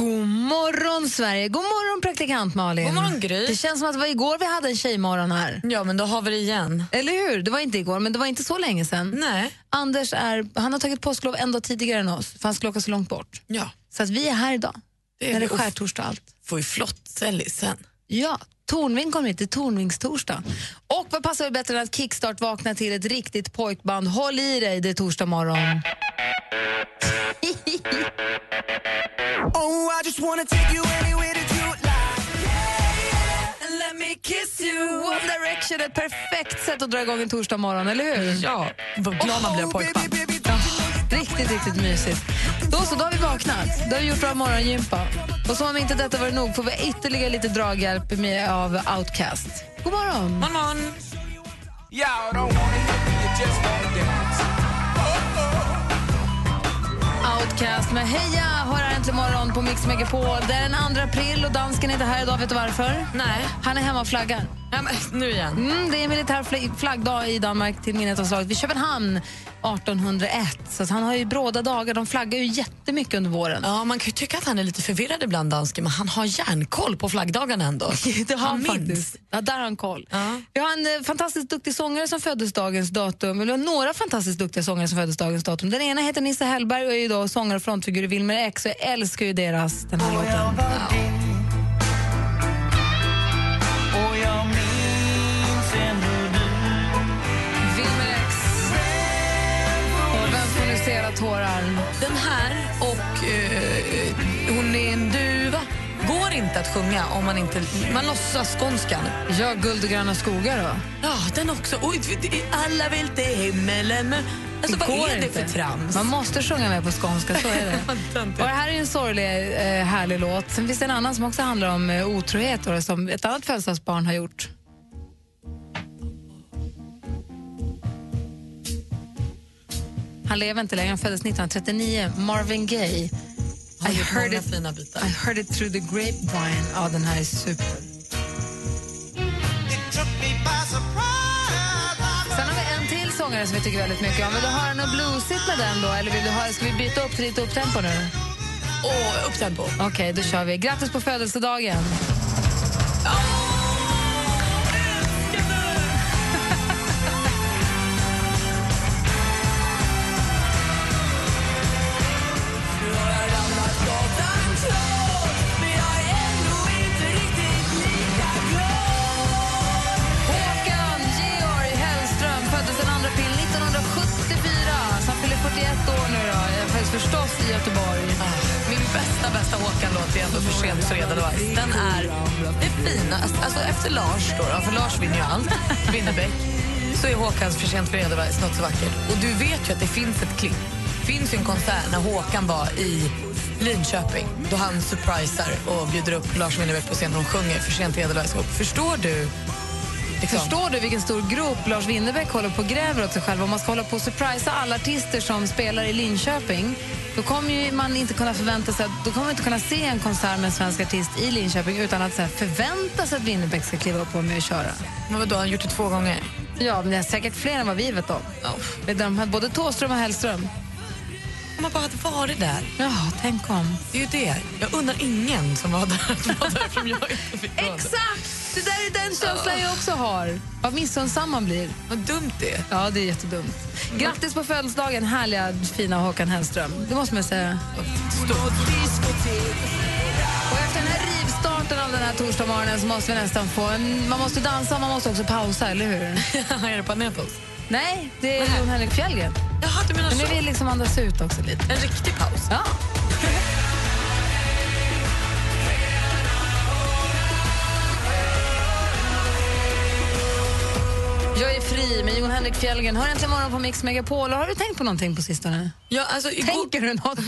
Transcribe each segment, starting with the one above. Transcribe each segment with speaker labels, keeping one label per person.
Speaker 1: God morgon, Sverige! God morgon, praktikant Malin!
Speaker 2: God morgon, Gry.
Speaker 1: Det känns som att det var igår vi hade en tjejmorgon här.
Speaker 2: Ja, men då har vi det igen.
Speaker 1: Eller hur? Det var inte igår, men det var inte så länge sedan.
Speaker 2: Nej.
Speaker 1: Anders är, han har tagit påsklov en dag tidigare än oss, för han skulle åka så långt bort.
Speaker 2: Ja.
Speaker 1: Så att vi är här idag,
Speaker 2: Det är
Speaker 1: när det är
Speaker 2: vi.
Speaker 1: skärtorsdag och allt.
Speaker 2: Får ju flott sälj sen.
Speaker 1: Ja, Tornving kommer hit, det är Tornvingstorsdag. Och vad passar det bättre än att Kickstart vakna till ett riktigt pojkband? Håll i dig, det är torsdag morgon.
Speaker 3: Oh, I just wanna take you anywhere that you like.
Speaker 1: Let me kiss you! One Direction är ett perfekt sätt att dra igång en torsdag morgon, eller hur? Oh,
Speaker 2: Ja, vad glad man blir av pojkband.
Speaker 3: Baby, baby,
Speaker 1: Ja, riktigt, riktigt mysigt. Då så, då har vi vaknat. Då har vi gjort våra morgongympa. Och som om inte detta var nog får vi ytterligare lite draghjälp med, av Outcast. God morgon!
Speaker 2: Morgon, morgon.
Speaker 3: Y'all don't wanna hit me, you just wanna dance.
Speaker 1: Outcast med Heja! Hör här äntligen morgon på Mix Megapol. Det är den 2 april och dansken är inte här idag. Vet du varför?
Speaker 2: Nej.
Speaker 1: Han är hemma och flaggar.
Speaker 2: Ja, men, nu igen.
Speaker 1: Mm, det är militär fl- flaggdag i Danmark till minnet av slaget vid Köpenhamn 1801. Så att han har ju bråda dagar. De flaggar ju jättemycket under våren.
Speaker 2: Ja, man kan ju tycka att han är lite förvirrad ibland, dansken, men han har järnkoll på flaggdagarna ändå.
Speaker 1: Det har han,
Speaker 2: minns.
Speaker 1: faktiskt. Ja, där har han koll.
Speaker 2: Ja.
Speaker 1: Vi har en eh, fantastiskt duktig sångare som föddes dagens datum. Eller vi har några fantastiskt duktiga sångare som föddes dagens datum. Den ena heter Nisse Hellberg och är ju då sångare och frontfigur i Wilmer X. Och jag älskar ju deras den här låten.
Speaker 3: Och jag minns ännu nu.
Speaker 1: Wilmer X. Och vem får nu se era tårar?
Speaker 2: Den här och eh, Hon är en duva går inte att sjunga om man inte... Man låtsas Alltså, skånskan.
Speaker 1: Ja, Guld och gröna skogar då.
Speaker 2: Ja, den också. Oj, det är alla vill till himmelen. men- Alltså, vad
Speaker 1: går
Speaker 2: är det
Speaker 1: inte.
Speaker 2: för trams?
Speaker 1: Man måste sjunga med på skånska, så är det.
Speaker 2: Töntigt.
Speaker 1: Och det här är ju en sorglig, eh, härlig låt. Sen finns det en annan som också handlar om eh, otrohet då, som ett annat födelsedagsbarn har gjort. Han lever inte längre, han föddes 1939. Marvin Gaye.
Speaker 2: Har
Speaker 1: I
Speaker 2: gjort
Speaker 1: heard
Speaker 2: många
Speaker 1: it,
Speaker 2: fina bitar.
Speaker 1: I heard it through the grapevine. Ja, den här är super.
Speaker 3: It took me by surprise. I
Speaker 1: Sen har vi en till sångare som vi tycker väldigt mycket om. Vill du höra något bluesigt med den då? Eller vill du höra, ska vi byta upp till lite upptempo nu?
Speaker 2: Och upptempo.
Speaker 1: Okej, då kör vi. Grattis på födelsedagen! Håkan Georg Hellström föddes den 2 april 1974. Så han fyller 41 år nu då. Jag föddes förstås i Göteborg.
Speaker 2: Min bästa, bästa Håkan-låt är ändå För sent fredag och ice. Den är det finaste. Alltså efter Lars, då, då, för Lars vinner ju allt, Winnerbäck, så är Håkans För sent fredag och ice något så vackert. Och du vet ju att det finns ett klipp. Det finns ju en konsert när Håkan var i Linköping då han surprisar och bjuder upp Lars Winnerbäck på scen och de sjunger För sent fredag och ice. ihop. Förstår du? Liksom?
Speaker 1: Förstår du vilken stor grop Lars Winnerbäck håller på och gräver åt sig själv? Om man ska hålla på och surprisa alla artister som spelar i Linköping då kommer ju man inte kunna förvänta sig att, då kommer man inte kunna se en konsert med en svensk artist i Linköping utan att så här, förvänta sig att Winnerbäck ska kliva upp och vara med och köra.
Speaker 2: Men vadå, han har gjort det två gånger?
Speaker 1: Ja, men det är säkert fler än vad vi vet om.
Speaker 2: Ja.
Speaker 1: Det är de här, både Thåström och Hellström.
Speaker 2: Om man bara hade varit där.
Speaker 1: Ja, tänk om.
Speaker 2: Det är ju det. Jag undrar ingen som var där att vara där som jag inte fick vara där.
Speaker 1: Exakt! Det där är den känslan jag också har. Vad missunnsam man blir.
Speaker 2: Vad dumt det är.
Speaker 1: Ja, det är jättedumt. Grattis på födelsedagen, härliga, fina Håkan Hellström. Det måste man säga. Och efter den här rivstarten av den här torsdagsmorgonen så måste vi nästan få en... Man måste dansa, man måste också pausa, eller hur?
Speaker 2: är det Panepos?
Speaker 1: Nej, det är Jon Henrik Fjällgren.
Speaker 2: Jaha, du menar
Speaker 1: Men nu vill liksom andas ut också lite.
Speaker 2: En riktig paus?
Speaker 1: Ja. Jag är fri med Jon Henrik Fjällgren. Hör äntligen morgon på Mix Megapol. Och Har du tänkt på någonting på sistone?
Speaker 2: Ja, alltså, igår,
Speaker 1: Tänker du något?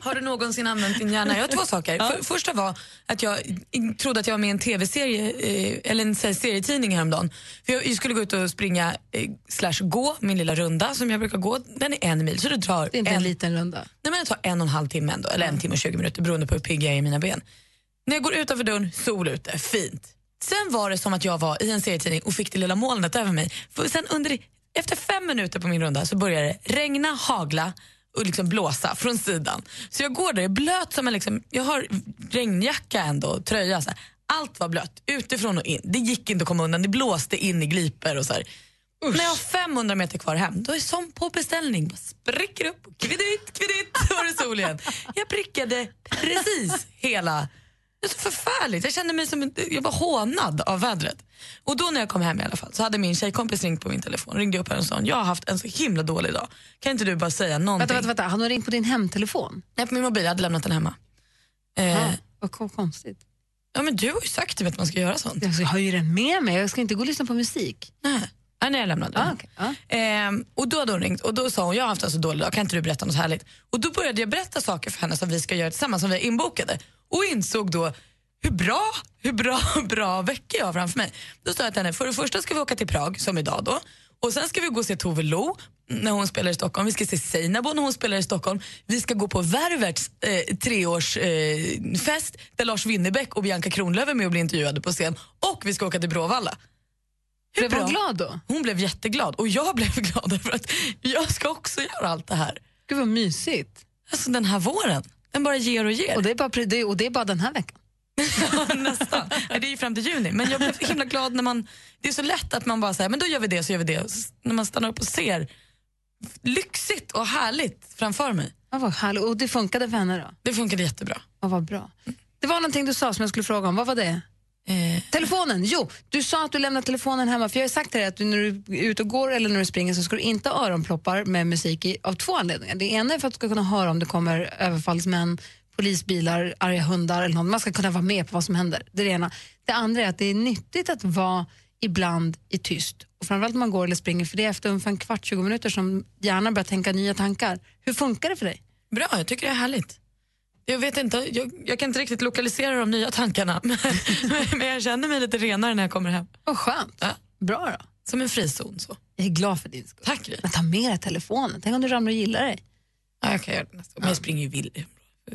Speaker 2: har du någonsin använt din hjärna? Jag har två saker. För, första var att jag i- trodde att jag var med i en tv-serie, eh, eller en så här, serietidning häromdagen. För jag, jag skulle gå ut och springa, eh, slash gå, min lilla runda som jag brukar gå. Den är en mil, så det drar
Speaker 1: Det är inte en
Speaker 2: en
Speaker 1: liten runda.
Speaker 2: Nej, men det tar en och en halv timme ändå, eller en timme och 20 minuter beroende på hur pigg jag är i mina ben. När jag går utanför dörren, sol ute, fint. Sen var det som att jag var i en serietidning och fick det lilla molnet över mig. För sen under, efter fem minuter på min runda så började det regna, hagla och liksom blåsa från sidan. Så jag går där, jag är blöt som en... Liksom, jag har regnjacka ändå, tröja. Så här. Allt var blött, utifrån och in. Det gick inte att komma undan, det blåste in i glipor och så här. När jag har 500 meter kvar hem, då är det som på beställning. Bara spricker upp, och kviditt, kviditt, då var det sol igen. Jag prickade precis hela... Det är så förfärligt. Jag kände mig som en- jag var hånad av vädret. Och då när jag kom hem i alla fall så hade min tjejkompis ringt på min telefon. Ringde upp henne och sa jag har haft en så himla dålig dag. Kan inte du bara säga någonting?
Speaker 1: Vänta, vänta, vänta. Han har ringt på din hemtelefon.
Speaker 2: Nej, på min mobil. Jag hade lämnat den hemma. Eh,
Speaker 1: Ah, vad kon- konstigt.
Speaker 2: ja, men du har ju sagt till mig att man ska göra sånt.
Speaker 1: Alltså, jag har ju den med mig. Jag ska inte gå och lyssna på musik.
Speaker 2: Nej, Nej, nej, jag lämnade den.
Speaker 1: Ah, okej. Ah.
Speaker 2: Ehm, och då hade hon ringt och då sa hon, jag har haft en så dålig dag, kan inte du berätta något härligt? Och då började jag berätta saker för henne som vi ska göra tillsammans, som vi är inbokade. Och insåg då hur bra, hur bra, bra veckor jag har framför mig. Då sa jag till henne, för det första ska vi åka till Prag, som idag då. Och sen ska vi gå och se Tove Lo mm, när hon spelar i Stockholm. Vi ska se Seinabo när hon spelar i Stockholm. Vi ska gå på Värverts eh, treårsfest eh, fest där Lars Winnerbäck och Bianca Kronlöf är med och blir intervjuade på scen. Och vi ska åka till Bråvalla.
Speaker 1: Blev
Speaker 2: bra?
Speaker 1: hon glad då?
Speaker 2: Hon blev jätteglad och jag blev glad för att jag ska också göra allt det här.
Speaker 1: Gud vad mysigt.
Speaker 2: Alltså den här våren, den bara ger och ger.
Speaker 1: Och det, är bara, pre- det, och det är bara den här veckan.
Speaker 2: Nästan. Nej, det är ju fram till juni. Men jag blev så himla glad när man, det är så lätt att man bara säger men då gör vi det så gör vi det. Och s- när man stannar upp och ser lyxigt och härligt framför mig.
Speaker 1: Ah, vad härligt. Och det funkade för henne då?
Speaker 2: Det funkade jättebra.
Speaker 1: Ah, vad bra. Det var någonting du sa som jag skulle fråga om. Vad var det?
Speaker 2: Eh,
Speaker 1: Telefonen, jo. Du sa att du lämnar telefonen hemma. För jag har ju sagt till dig att du, när du är ute och går eller när du springer så ska du inte ha öronploppar med musik i, av två anledningar. Det ena är för att du ska kunna höra om det kommer överfallsmän, polisbilar, arga hundar eller något. Man ska kunna vara med på vad som händer. Det, är det ena. Det andra är att det är nyttigt att vara ibland i tyst. Och framförallt när man går eller springer för det är efter ungefär en kvart, 20 minuter som hjärnan börjar tänka nya tankar. Hur funkar det för dig?
Speaker 2: bra, jag tycker det är härligt. Jag vet inte, jag, jag kan inte riktigt lokalisera de nya tankarna. Men, men jag känner mig lite renare när jag kommer hem.
Speaker 1: Vad skönt.
Speaker 2: Ja.
Speaker 1: Bra då.
Speaker 2: Som en frizon så.
Speaker 1: Jag är glad för din skull.
Speaker 2: Tack Gry.
Speaker 1: Men ta med dig telefonen. Tänk om du ramlar och gillar dig.
Speaker 2: Ja, jag kan göra det nästa gång. Men jag springer ju vill.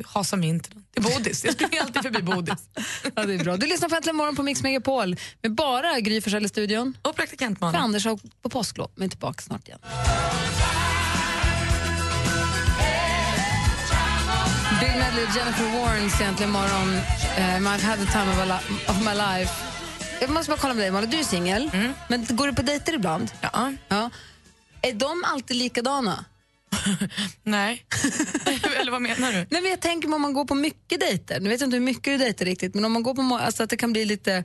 Speaker 2: Hasar mig inte. Det är Bodis. Jag springer alltid förbi Bodis.
Speaker 1: Ja, det är bra. Du lyssnar på Äntligen morgon på Mix Megapol med bara Gry Forssell i studion.
Speaker 2: Och
Speaker 1: För
Speaker 2: praktikantmannen.
Speaker 1: Anders har på påsklov, men är tillbaka snart igen. Bill Medley och Jennifer Warrens Äntligen morgon. Um, I've had the time of, a li- of my life. Jag måste bara kolla med dig, Malin. Du är singel, men går du på dejter ibland?
Speaker 2: Ja.
Speaker 1: Ja. Är de alltid likadana?
Speaker 2: Nej. Eller vad menar du?
Speaker 1: Nej, men jag tänker mig om man går på mycket dejter. Nu vet jag inte hur mycket du dejtar riktigt, men om man går på må- alltså att det kan bli lite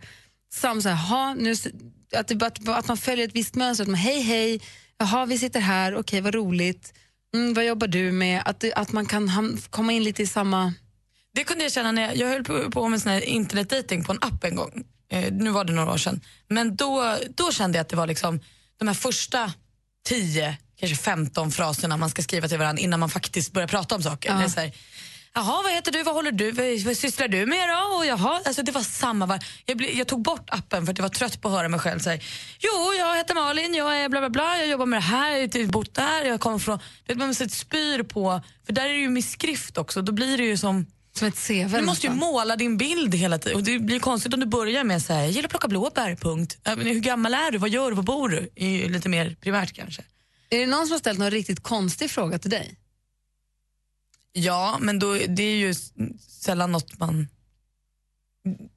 Speaker 1: sam, så här, "Ha, nu, s- att, det, bara- att, att man följer ett visst mönster. Att man, hej, hej, jaha, vi sitter här, okej, vad roligt. Mm, vad jobbar du med? Att, det- att man kan ham- komma in lite i samma...
Speaker 2: Det kunde jag känna när jag, jag höll på, på med sån här internetdating på en app en gång. Eh, nu var det några år sedan. Men då, då kände jag att det var liksom de här första 10, kanske 15 fraserna man ska skriva till varandra innan man faktiskt börjar prata om saker. Det är så här, Jaha, vad heter du? Vad håller du? Vad, vad sysslar du med då? Och jaha, alltså det var samma. var- Jag, blev- jag tog bort appen för att jag var trött på att höra mig själv säga Jo, jag heter Malin, jag är bla bla bla, jag jobbar med det här, jag har typ bott där, jag kommer från... Du vet, man måste spyr på, för där är det ju med skrift också, då blir det ju som...
Speaker 1: Som ett CV.
Speaker 2: Du måste ju
Speaker 1: nästan.
Speaker 2: måla din bild hela tiden. Och det blir konstigt om du börjar med så här, jag gillar att plocka blåbär, punkt. Ja, men Hur gammal är du? Vad gör du? Var bor du? är ju lite mer primärt kanske.
Speaker 1: Är det någon som har ställt någon riktigt konstig fråga till dig?
Speaker 2: Ja, men då, det är ju s- sällan något man...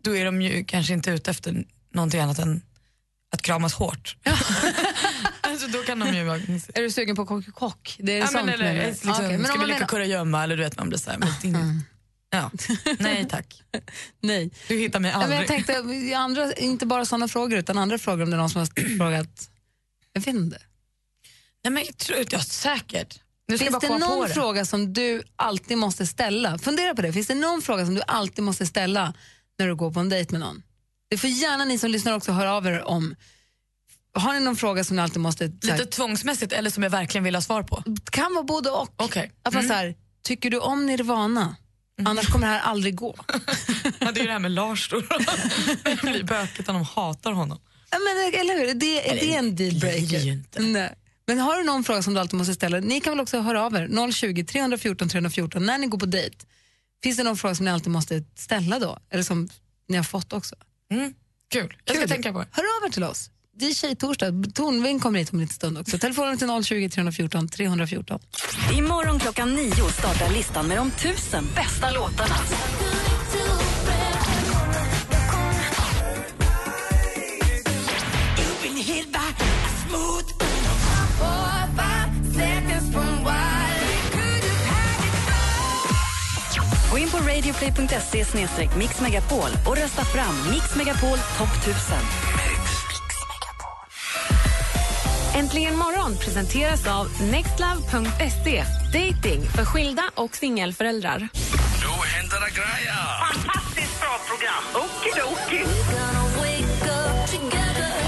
Speaker 2: Då är de ju kanske inte ute efter någonting annat än att kramas hårt. alltså då kan de ju vara...
Speaker 1: Är du sugen på kock? kock? Det är
Speaker 2: Ja,
Speaker 1: sånt
Speaker 2: men, eller,
Speaker 1: menar du?
Speaker 2: liksom,
Speaker 1: Okej, men
Speaker 2: ska
Speaker 1: om
Speaker 2: vi
Speaker 1: man
Speaker 2: leka
Speaker 1: menar...
Speaker 2: kurragömma eller du vet, man blir så här... Men, det är inget- ja. Nej tack,
Speaker 1: Nej.
Speaker 2: du hittar mig
Speaker 1: Ja,
Speaker 2: aldrig.
Speaker 1: men jag tänkte, i andra, inte bara sådana frågor, utan andra frågor om det är någon som har frågat. Jag vet inte.
Speaker 2: Nej, men jag tror, ja, säkert. Nu ska
Speaker 1: Finns
Speaker 2: jag bara
Speaker 1: det
Speaker 2: komma på
Speaker 1: någon
Speaker 2: det.
Speaker 1: fråga som du alltid måste ställa? Fundera på det. Finns det någon fråga som du alltid måste ställa när du går på en dejt med någon? Det får gärna ni som lyssnar också höra av er om. Har ni någon fråga som ni alltid måste... så här,
Speaker 2: Lite tvångsmässigt eller som jag verkligen vill ha svar på?
Speaker 1: kan vara både och.
Speaker 2: Okej. Mm.
Speaker 1: Att man så här, tycker du om Nirvana? Annars kommer det här aldrig gå.
Speaker 2: Ja, det är ju det här med Lars då. Det blir bökigt om de hatar honom.
Speaker 1: Ja, men, eller hur? Det, det är en
Speaker 2: det är
Speaker 1: dealbreaker.
Speaker 2: ju inte.
Speaker 1: Nej. Men har du någon fråga som du alltid måste ställa? Ni kan väl också höra av er, 020 314 314, när ni går på dejt. Finns det någon fråga som ni alltid måste ställa då? Eller som ni har fått också?
Speaker 2: Kul. Jag ska tänka på det.
Speaker 1: Hör av er till oss. Det är Tjejtorsdag. Tornving kommer hit om en liten stund också. Telefonen till 020 314 314.
Speaker 4: Imorgon klockan nio startar listan med de tusen bästa låtarna. Gå in på radioplay.se snedstreck Mix Megapol och rösta fram Mix Megapol topp 1000.
Speaker 5: Äntligen morgon presenteras av nextlove.se. Dating för skilda och singelföräldrar.
Speaker 6: Fantastiskt bra program. Okidoki.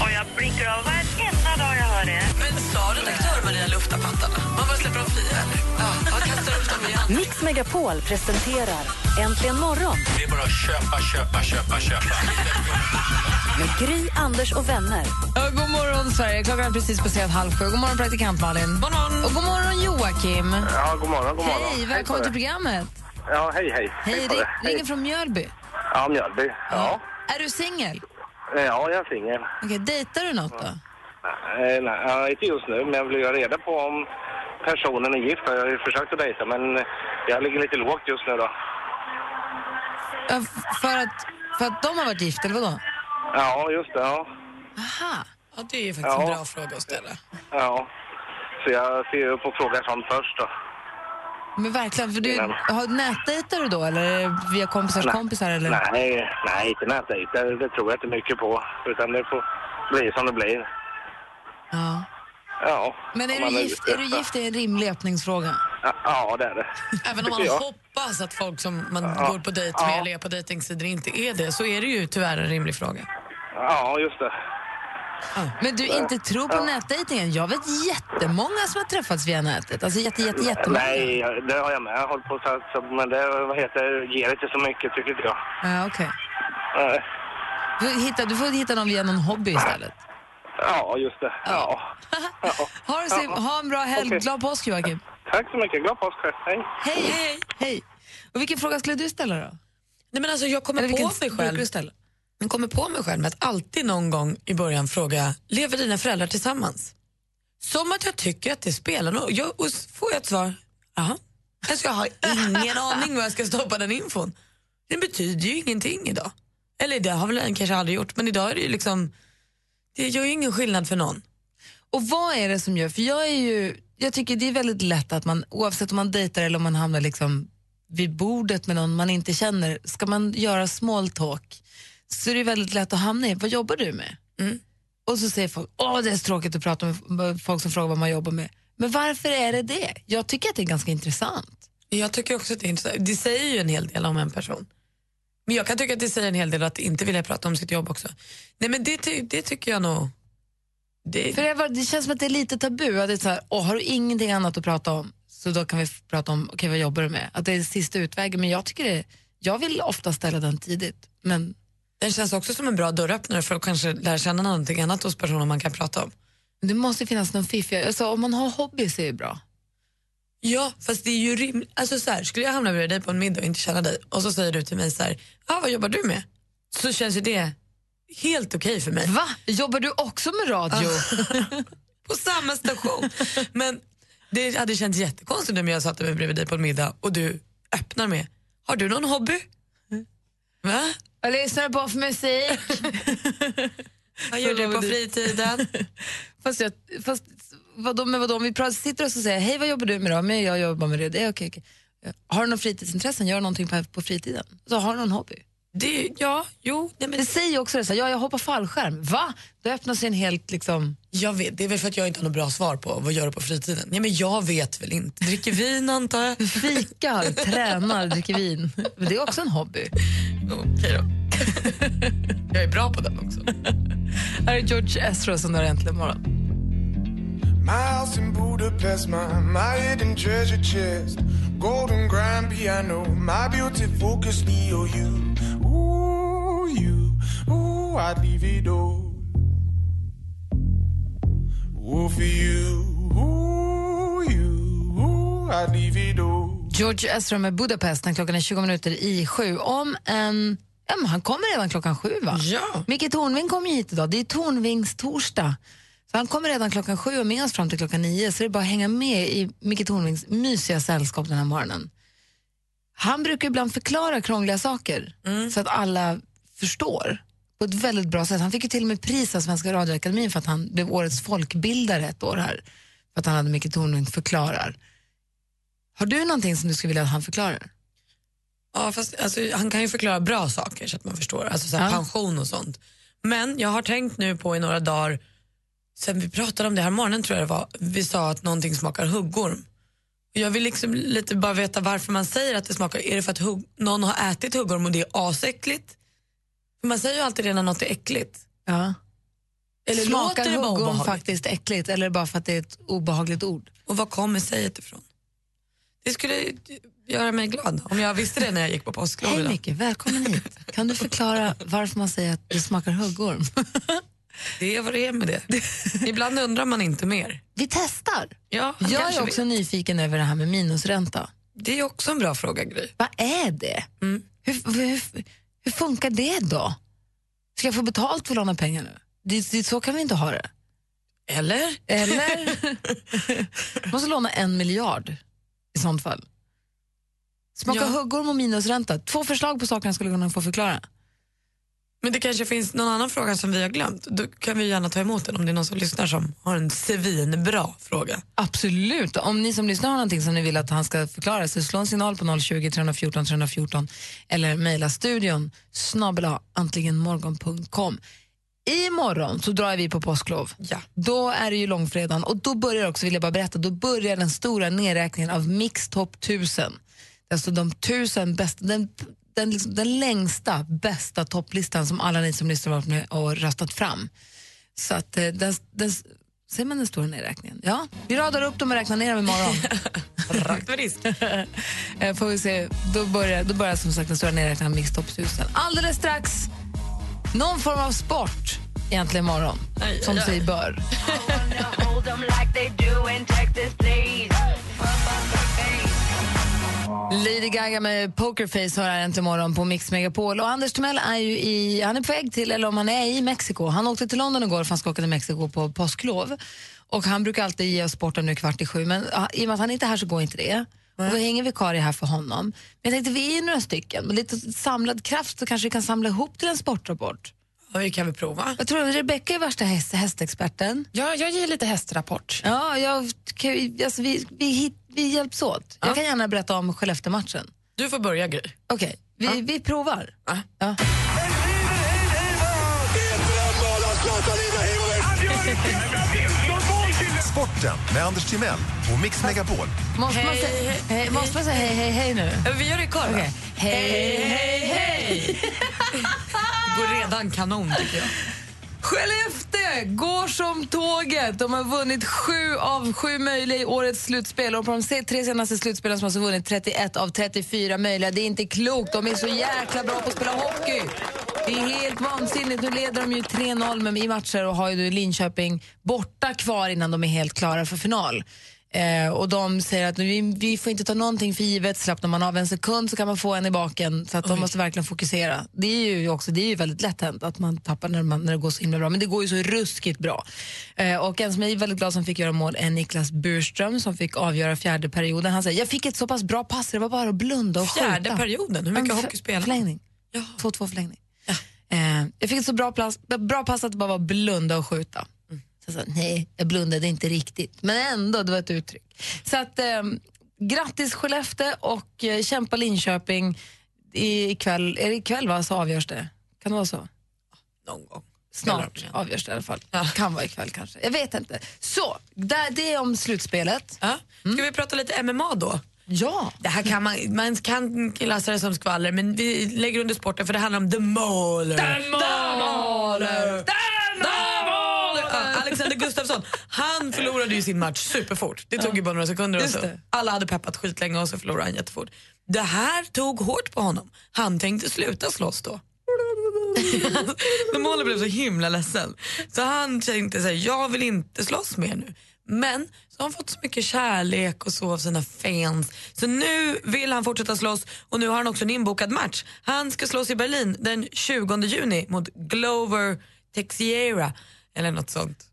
Speaker 6: Och jag blinkar av varenda dag jag hör det.
Speaker 2: Men sa redaktör Maria lufta pattarna? Man bara släpper dem fria. Ja, jag kastar upp dem igen.
Speaker 4: Mix Megapol presenterar Äntligen morgon
Speaker 3: Det är bara att köpa, köpa, köpa, köpa.
Speaker 4: med Gry, Anders och vänner.
Speaker 1: Ja, god morgon, Sverige. Klockan är precis passerat halv sju. God morgon, praktikant Malin. God morgon. Och god morgon, Joakim.
Speaker 7: Ja, god morgon, god morgon.
Speaker 1: Hej, välkommen till programmet.
Speaker 7: Ja, hej, hej.
Speaker 1: Hej,
Speaker 7: på
Speaker 1: ri-
Speaker 7: dig.
Speaker 1: ringer från Mjölby.
Speaker 7: Ja, Mjölby. Ja.
Speaker 1: Är du singel?
Speaker 7: ja, jag är singel.
Speaker 1: Okej, dejtar du något då?
Speaker 7: Nej, nej, ja, inte just nu, men jag vill ju ha reda på om personen är gift. Jag har ju försökt att dejta, men jag ligger lite lågt just nu då.
Speaker 1: Ja, f- För att, för att de har varit gift, eller vadå?
Speaker 7: Ja, just det. Ja.
Speaker 1: Aha.
Speaker 2: Ja, det är ju faktiskt en
Speaker 7: Ja.
Speaker 2: bra fråga att ställa.
Speaker 7: ja. Så jag ser ju upp och frågar sånt först då.
Speaker 1: Men verkligen, för du,
Speaker 7: Innan.
Speaker 1: har, nätdejtar du då? Eller via kompisars kompisar? Eller?
Speaker 7: Nej, nej, inte nätdejter. Det tror jag inte mycket på. Utan det får bli som det blir.
Speaker 1: Ja.
Speaker 7: Ja.
Speaker 1: Men är
Speaker 7: om man
Speaker 1: du, gift, är du
Speaker 7: ute.
Speaker 1: gift är en rimlig öppningsfråga.
Speaker 7: Ja, det är det.
Speaker 2: Även om man
Speaker 7: Tycker jag.
Speaker 2: hoppas att folk som man
Speaker 7: Ja.
Speaker 2: går på dejt med
Speaker 7: Ja.
Speaker 2: eller är på dejtingsidor inte är det, så är det ju tyvärr en rimlig fråga.
Speaker 7: Ja, just det.
Speaker 1: Men du inte tror på nätdejtingen? Jag vet jättemånga som har träffats via nätet. Alltså jätte, jätte, jättemånga.
Speaker 7: Nej, jag- det har jag med hållit på så, så men det vad heter, ger inte så mycket tycker inte jag.
Speaker 1: Ja, okej.
Speaker 7: Nej.
Speaker 1: Du, hitta, du får hitta någon via någon hobby istället.
Speaker 7: Ja, just det. Ja. Ja.
Speaker 1: Ha, det så, ha en bra helg.
Speaker 7: Okej.
Speaker 1: Glad påsk, Joakim.
Speaker 7: Tack så mycket. Glad påsk. själv. Hej.
Speaker 1: Hej! Hej! Och vilken fråga skulle du ställa då?
Speaker 2: Nej, men alltså, jag kommer
Speaker 1: Eller vilken
Speaker 2: på mig
Speaker 1: brukar du
Speaker 2: själv
Speaker 1: ställa?
Speaker 2: Jag kommer på mig själv med att alltid någon gång i början fråga, lever dina föräldrar tillsammans? Som att jag tycker att det spelar någon jag, Och så får jag ett svar, jaha. Alltså jag har ingen aning var jag ska stoppa den infon. Det betyder ju ingenting idag. Eller det har väl den kanske aldrig gjort, men idag är det ju liksom, det gör ju ingen skillnad för någon.
Speaker 1: Och vad är det som gör, för jag är ju, jag tycker det är väldigt lätt att man oavsett om man dejtar eller om man hamnar liksom vid bordet med någon man inte känner, ska man göra small talk så är det väldigt lätt att hamna i, vad jobbar du med?
Speaker 2: Mm.
Speaker 1: Och så säger folk, åh det är så tråkigt att prata med f- med folk som frågar vad man jobbar med. Men varför är det det? Jag tycker att det är ganska intressant.
Speaker 2: Jag tycker också att det är intressant. Det säger ju en hel del om en person. Men jag kan tycka att det säger en hel del att inte vilja prata om sitt jobb också. Nej men det, ty- det tycker jag nog. Det,
Speaker 1: För det, var, det känns som att det är lite tabu, att det är så här, åh har du ingenting annat att prata om så då kan vi f- prata om, okej vad jobbar du med? Att det är sista utvägen, men jag tycker det, jag vill ofta ställa den tidigt. Men
Speaker 2: Den känns också som en bra dörröppnare för att kanske lära känna någonting annat hos personer man kan prata om.
Speaker 1: Det måste ju finnas någon fiffig, alltså om man har hobby så är det bra.
Speaker 2: Ja, fast det är ju rimligt. Alltså så här, skulle jag hamna bredvid dig på en middag och inte känna dig och så säger du till mig så här, ah, vad jobbar du med? Så känns ju det helt okej för mig.
Speaker 1: Va? Jobbar du också med radio?
Speaker 2: Ah. På samma station. Men det hade känts jättekonstigt om jag satt mig bredvid dig på en middag och du öppnar med, har du någon hobby? Va?
Speaker 1: Jag lyssnar på för musik.
Speaker 2: Vad gör du på fritiden?
Speaker 1: fast jag, fast vadå, men vadå, om vi pratar, sitter och så säger jag, hej vad jobbar du med då? Men jag jobbar med det, det är okej. okej. Har du någon fritidsintressen? Gör du någonting på, på fritiden? Så har du någon hobby?
Speaker 2: Det, ja, jo, nej, men
Speaker 1: Det säger ju också det, så här, ja jag hoppar fallskärm. Va? Då öppnas ju en helt liksom...
Speaker 2: Jag vet, det är väl för att jag inte har något bra svar på vad gör du på fritiden. Nej, men jag vet väl inte. Dricker vin antar jag.
Speaker 1: Fikar, tränar, dricker vin. Men det är också en hobby.
Speaker 2: Okej då. jag är bra på den också. Här är George Ezra som du har äntligen morgon.
Speaker 3: My house in Budapest, my, my hidden treasure chest. Golden grand piano, my beauty focus EOU. Ooh, you, ooh, I'd leave it all. Ooh, for you, ooh, you, ooh, I'd leave it all.
Speaker 1: George Ezra med Budapest när klockan är 20 minuter i sju. Om en... Ja, men han kommer redan klockan sju, va? Ja. Micke Tornving kommer ju hit idag. Det är Tornvings torsdag. Så han kommer redan klockan sju och med oss fram till klockan nio. Så det är bara att hänga med i Micke Tornvings mysiga sällskap den här morgonen. Han brukar ibland förklara krångliga saker så att alla förstår på ett väldigt bra sätt. Han fick ju till och med pris av Svenska radioakademin för att han blev årets folkbildare ett år här. För att han hade Micke Tornving förklarar. Har du någonting som du skulle vilja att han förklarar?
Speaker 2: Ja, fast alltså, han kan ju förklara bra saker så att man förstår, alltså så här, pension och sånt. Men jag har tänkt nu på i några dagar, sen vi pratade om det här morgonen tror jag det var, vi sa att någonting smakar huggorm. Och Jag vill liksom lite bara veta varför man säger att det smakar, är det för att hugg, någon har ätit huggorm och det är asäckligt? För man säger ju alltid det när något är äckligt.
Speaker 1: Ja.
Speaker 2: Eller
Speaker 1: Smakar
Speaker 2: låter det bara
Speaker 1: huggorm
Speaker 2: obehagligt?
Speaker 1: faktiskt äckligt eller bara för att det är ett obehagligt ord?
Speaker 2: Och var kommer säget ifrån? Det skulle göra mig glad om jag visste det när jag gick på
Speaker 1: Hej
Speaker 2: påsklovet.
Speaker 1: Micke, välkommen hit. Kan du förklara varför man säger att det smakar huggorm?
Speaker 2: Det är vad det är med det. Ibland undrar man inte mer.
Speaker 1: Vi testar.
Speaker 2: Ja, han
Speaker 1: Jag
Speaker 2: kanske
Speaker 1: är också
Speaker 2: vet.
Speaker 1: nyfiken över det här med minusränta. Mm.
Speaker 2: Det är också en bra fråga, Gry.
Speaker 1: Vad är det? Hur, hur, hur funkar det då? Ska jag få betalt för att låna pengar nu? Det, det, så kan vi inte ha det.
Speaker 2: Eller?
Speaker 1: Eller? Jag måste låna en miljard i sånt fall. Smaka
Speaker 2: Ja.
Speaker 1: huggorm och minusränta. Två förslag på saker jag skulle kunna få förklara.
Speaker 2: Men det kanske finns någon annan fråga som vi har glömt. Då kan vi gärna ta emot den om det är någon som lyssnar som har en svinbra fråga.
Speaker 1: Absolut. Om ni som lyssnar har någonting som ni vill att han ska förklara så slå en signal på 020 314 314 eller mejla studion snabel-a antligenmorgon.com. Imorgon så drar vi på påsklov.
Speaker 2: Ja.
Speaker 1: Då är det ju långfredagen och då börjar också, vill jag bara berätta, då börjar den stora nedräkningen av Mix Top 1000. Alltså de tusen bästa, den, den, liksom, den längsta, bästa topplistan som alla ni som lyssnar har varit med och röstat fram. Så att eh, den, den, ser man den stora nedräkningen? Ja, vi radar upp dem och räknar ner dem imorgon.
Speaker 2: Rakt med risk.
Speaker 1: Eh, Får vi se. Då börjar, då börjar som sagt den stora nedräkningen av Mix Top 1000. Alldeles strax, någon form av sport egentligen imorgon,
Speaker 2: Aj,
Speaker 1: som
Speaker 2: aj, aj.
Speaker 1: sig bör. Lady Gaga med Pokerface har här äntligen morgon på Mix Megapol. Och Anders Timell är ju i, han är på väg till, eller om han är i Mexiko. Han åkte till London igår för han ska åka till Mexiko på påsklov. Och han brukar alltid ge oss sporten nu kvart i sju, men ah, i och med att han inte är här så går inte det. Och då hänger vikarie här för honom. Men jag tänkte, vi är några stycken, med lite samlad kraft så kanske vi kan samla ihop till en sportrapport.
Speaker 2: Ja, vi kan väl prova.
Speaker 1: Jag tror att Rebecca är värsta häst, hästexperten.
Speaker 8: Ja, jag ger lite hästrapport.
Speaker 1: Ja, jag, kan ju- alltså, vi, vi, hit, vi hjälps åt. Jag kan gärna berätta om Skellefteå-matchen.
Speaker 2: Du får börja, Gry.
Speaker 1: Okej, vi, vi provar. Ja.
Speaker 9: Sporten med Anders Timell och Mix Megapol.
Speaker 1: Måste, man säga, hej, måste man säga hej, hej, hej nu?
Speaker 2: Vi gör det i kör, va?
Speaker 1: Okej. Hej, hej, hej!
Speaker 2: Det går redan kanon, tycker jag.
Speaker 1: Skellefteå går som tåget. De har vunnit sju av sju möjliga i årets slutspel. Och på de se- tre senaste slutspelen så har de alltså vunnit 31 av 34 möjliga. Det är inte klokt. De är så jäkla bra på att spela hockey. Det är helt vansinnigt. Nu leder de ju 3-0 med i matcher och har ju Linköping borta kvar innan de är helt klara för final. Eh, och de säger att vi, vi får inte ta någonting för givet, slappnar man av en sekund så kan man få en i baken. Så att de måste verkligen fokusera. Det är ju också det är ju väldigt lätt hänt att man tappar när, man, när det går så himla bra, men det går ju så ruskigt bra. Eh, och en som jag är väldigt glad som fick göra mål är Niklas Burström som fick avgöra fjärde perioden. Han säger, jag fick ett så pass bra pass, det var bara att blunda och skjuta.
Speaker 2: Fjärde perioden, hur mycket
Speaker 1: Ja, men för-
Speaker 2: hockey spelar man?
Speaker 1: Förlängning. 2-2 förlängning. Eh, jag fick ett så bra, plats, bra pass att det bara var att blunda och skjuta.
Speaker 2: Mm.
Speaker 1: Så jag sa, nej, jag blundade inte riktigt. Men ändå, det var ett uttryck. Så att, eh, grattis Skellefteå och eh, kämpa Linköping. I- Ikväll, är det ikväll va, så avgörs det? Kan det vara så?
Speaker 2: Någon gång. Spelar de
Speaker 1: Snart
Speaker 2: igen.
Speaker 1: avgörs det i alla fall. Kan vara ikväll kanske. Jag vet inte. Så, där, det är om slutspelet.
Speaker 2: Ja. Ska
Speaker 1: Mm.
Speaker 2: vi prata lite MMA då?
Speaker 1: Ja.
Speaker 2: Det här kan man, man kan klassa det som skvaller, men vi lägger under sporten för det handlar om The Mauler. The Mauler! The Ja, Alexander Gustafsson, han förlorade ju sin match superfort. Det tog ju bara några sekunder. Och
Speaker 8: Just
Speaker 2: så.
Speaker 8: det.
Speaker 2: Alla hade peppat skitlänge och så förlorade han jättefort. Det här tog hårt på honom. Han tänkte sluta slåss då. Men Molly blev så himla ledsen. Så han tänkte så här, jag vill inte slåss mer nu. Men så har han fått så mycket kärlek och så av sina fans. Så nu vill han fortsätta slåss och nu har han också en inbokad match. Han ska slåss i Berlin den 20 juni mot Glover Texiera eller något sånt.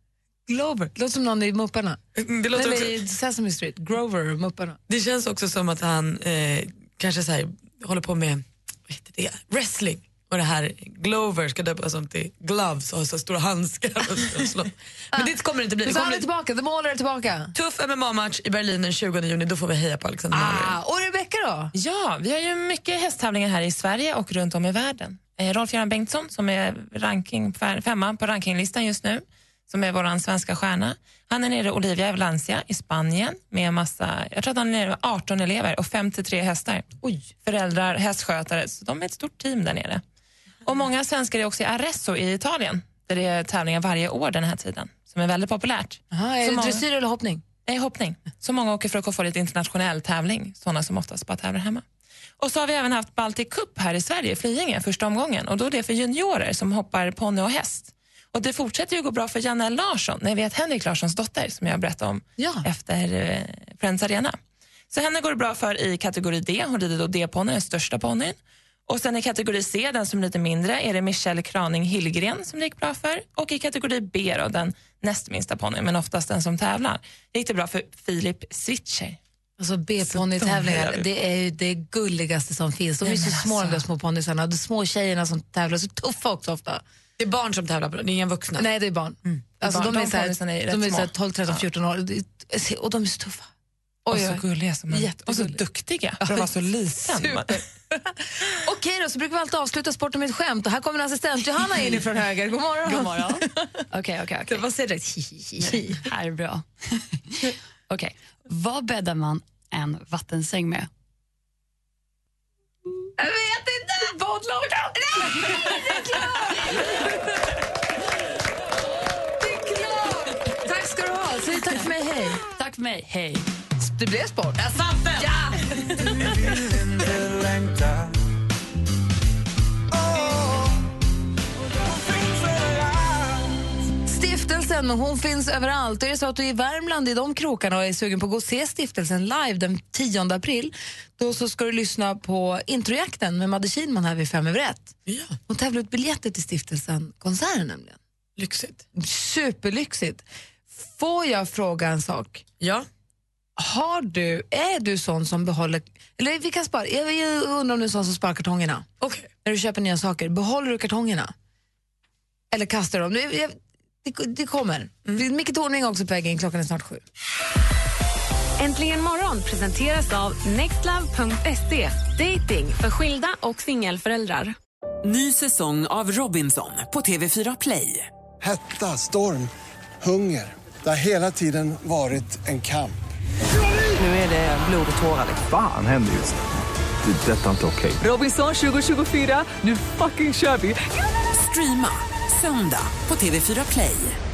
Speaker 1: Glover, det låter som någon i Mupparna.
Speaker 2: Det låter
Speaker 1: Eller
Speaker 2: också-
Speaker 1: i Sesame Street, Grover och Mupparna.
Speaker 2: Det känns också som att han eh, kanske så här, håller på med vad heter det, wrestling. Och det här Glover ska döpas om till Gloves och ha så stora handskar. Och så slå. Men det kommer det inte bli.
Speaker 1: Men så
Speaker 2: Det kommer
Speaker 1: han är
Speaker 2: bli
Speaker 1: tillbaka, The Mauler är tillbaka.
Speaker 2: tuff MMA-match i Berlin den 20 juni. Då får vi heja på Alexander Mahler.
Speaker 1: Ah, och Rebecca då?
Speaker 8: Ja, vi har ju mycket hästtävlingar här i Sverige och runt om i världen. Eh, Rolf-Göran Bengtsson som är ranking, femma på rankinglistan just nu, som är vår svenska stjärna. Han är nere i Olivia Valencia i Spanien med en massa, jag tror att han är nere med 18 elever och 53 hästar. Oj. Föräldrar, hästskötare, så de är ett stort team där nere. Och många svenskar är också i Arezzo i Italien, där det är tävlingar varje år den här tiden, som är väldigt populärt.
Speaker 1: Aha, är
Speaker 8: Så
Speaker 1: det
Speaker 8: många-
Speaker 1: dressyr eller hoppning?
Speaker 8: Nej, Eh, hoppning. Så många åker för att få lite internationell tävling, sådana som oftast bara tävlar hemma. Och så har vi även haft Baltic Cup här i Sverige, i Flyinge, första omgången. Och då är det för juniorer som hoppar ponny och häst. Och det fortsätter ju gå bra för Janne Larsson, nej vet Henrik Larssons dotter som jag berättade om efter eh, Friends Arena. Så henne går det bra för i kategori D, hon rider då D-ponnyn, den största ponnyn. Och sen i kategori C, den som är lite mindre, är det Michelle Kraning Hillgren som det gick bra för. Och i kategori B, då, den näst minsta ponnyn, men oftast den som tävlar, gick det bra för Filip Switcher.
Speaker 1: Alltså B-ponnytävlingar, det är ju det gulligaste som finns. De är
Speaker 8: Nej,
Speaker 1: ju så
Speaker 8: men
Speaker 1: små de där små ponnysarna. De små tjejerna som tävlar, så tuffa också ofta.
Speaker 2: Det är barn som tävlar, på det, det är inga vuxna.
Speaker 1: Nej, det är barn.
Speaker 8: är
Speaker 1: Alltså,
Speaker 8: barn.
Speaker 1: de är,
Speaker 8: De
Speaker 1: så här,
Speaker 8: ponnysarna är ju
Speaker 1: de
Speaker 8: rätt
Speaker 1: är så här
Speaker 8: små.
Speaker 1: 12, 13, 14 år. Det- Och de är så tuffa.
Speaker 8: och
Speaker 1: Oj,
Speaker 8: så
Speaker 1: oj.
Speaker 8: gulliga som de är. Och så duktiga för att vara så liten.
Speaker 1: Okej då, så brukar vi alltid avsluta sporten med ett skämt. Och här kommer assistent Johanna in från höger. God morgon. God morgon.
Speaker 10: Okej, okej, okej.
Speaker 1: Vad säger du?
Speaker 10: Här är bra. Okej, vad bäddar man en vattensäng med?
Speaker 1: Jag vet inte! Badlakan! Nej, det är klart! Det är klart! Tack ska du ha. Säg tack för mig, hej.
Speaker 10: Tack för mig, hej.
Speaker 1: Det blev sport. Jag satt den! Ja! Stiftelsen, men hon finns överallt. Är det så att du är i Värmland i de krokarna och är sugen på att gå och se stiftelsen live den 10 april, då så ska du lyssna på introjakten med Madde Kihlman här vid fem över ett. Hon tävlar ut biljetter till stiftelsen konserten nämligen.
Speaker 2: Lyxigt.
Speaker 1: Superlyxigt. Får jag fråga en sak?
Speaker 2: Ja.
Speaker 1: Har du, är du sån som behåller, eller vi kan spara, jag jag undrar om du är sån som sparar kartongerna?
Speaker 2: Okej.
Speaker 1: När du köper nya saker, behåller du kartongerna? Eller kastar dem? Det, jag, det, det kommer. Mm. Micke Tornving är också på väg in, klockan är snart sju.
Speaker 5: Äntligen morgon presenteras av nextlove.se. Dating för skilda och singelföräldrar.
Speaker 11: Ny säsong av Robinson på TV4 Play.
Speaker 12: Hetta, storm, hunger. Det har hela tiden varit en kamp.
Speaker 11: Nu är det blod och tårar.
Speaker 13: Fan händer just det. Det är detta inte okej.
Speaker 11: Robinson 2024, nu fucking kör vi! Streama söndag på TV4 Play.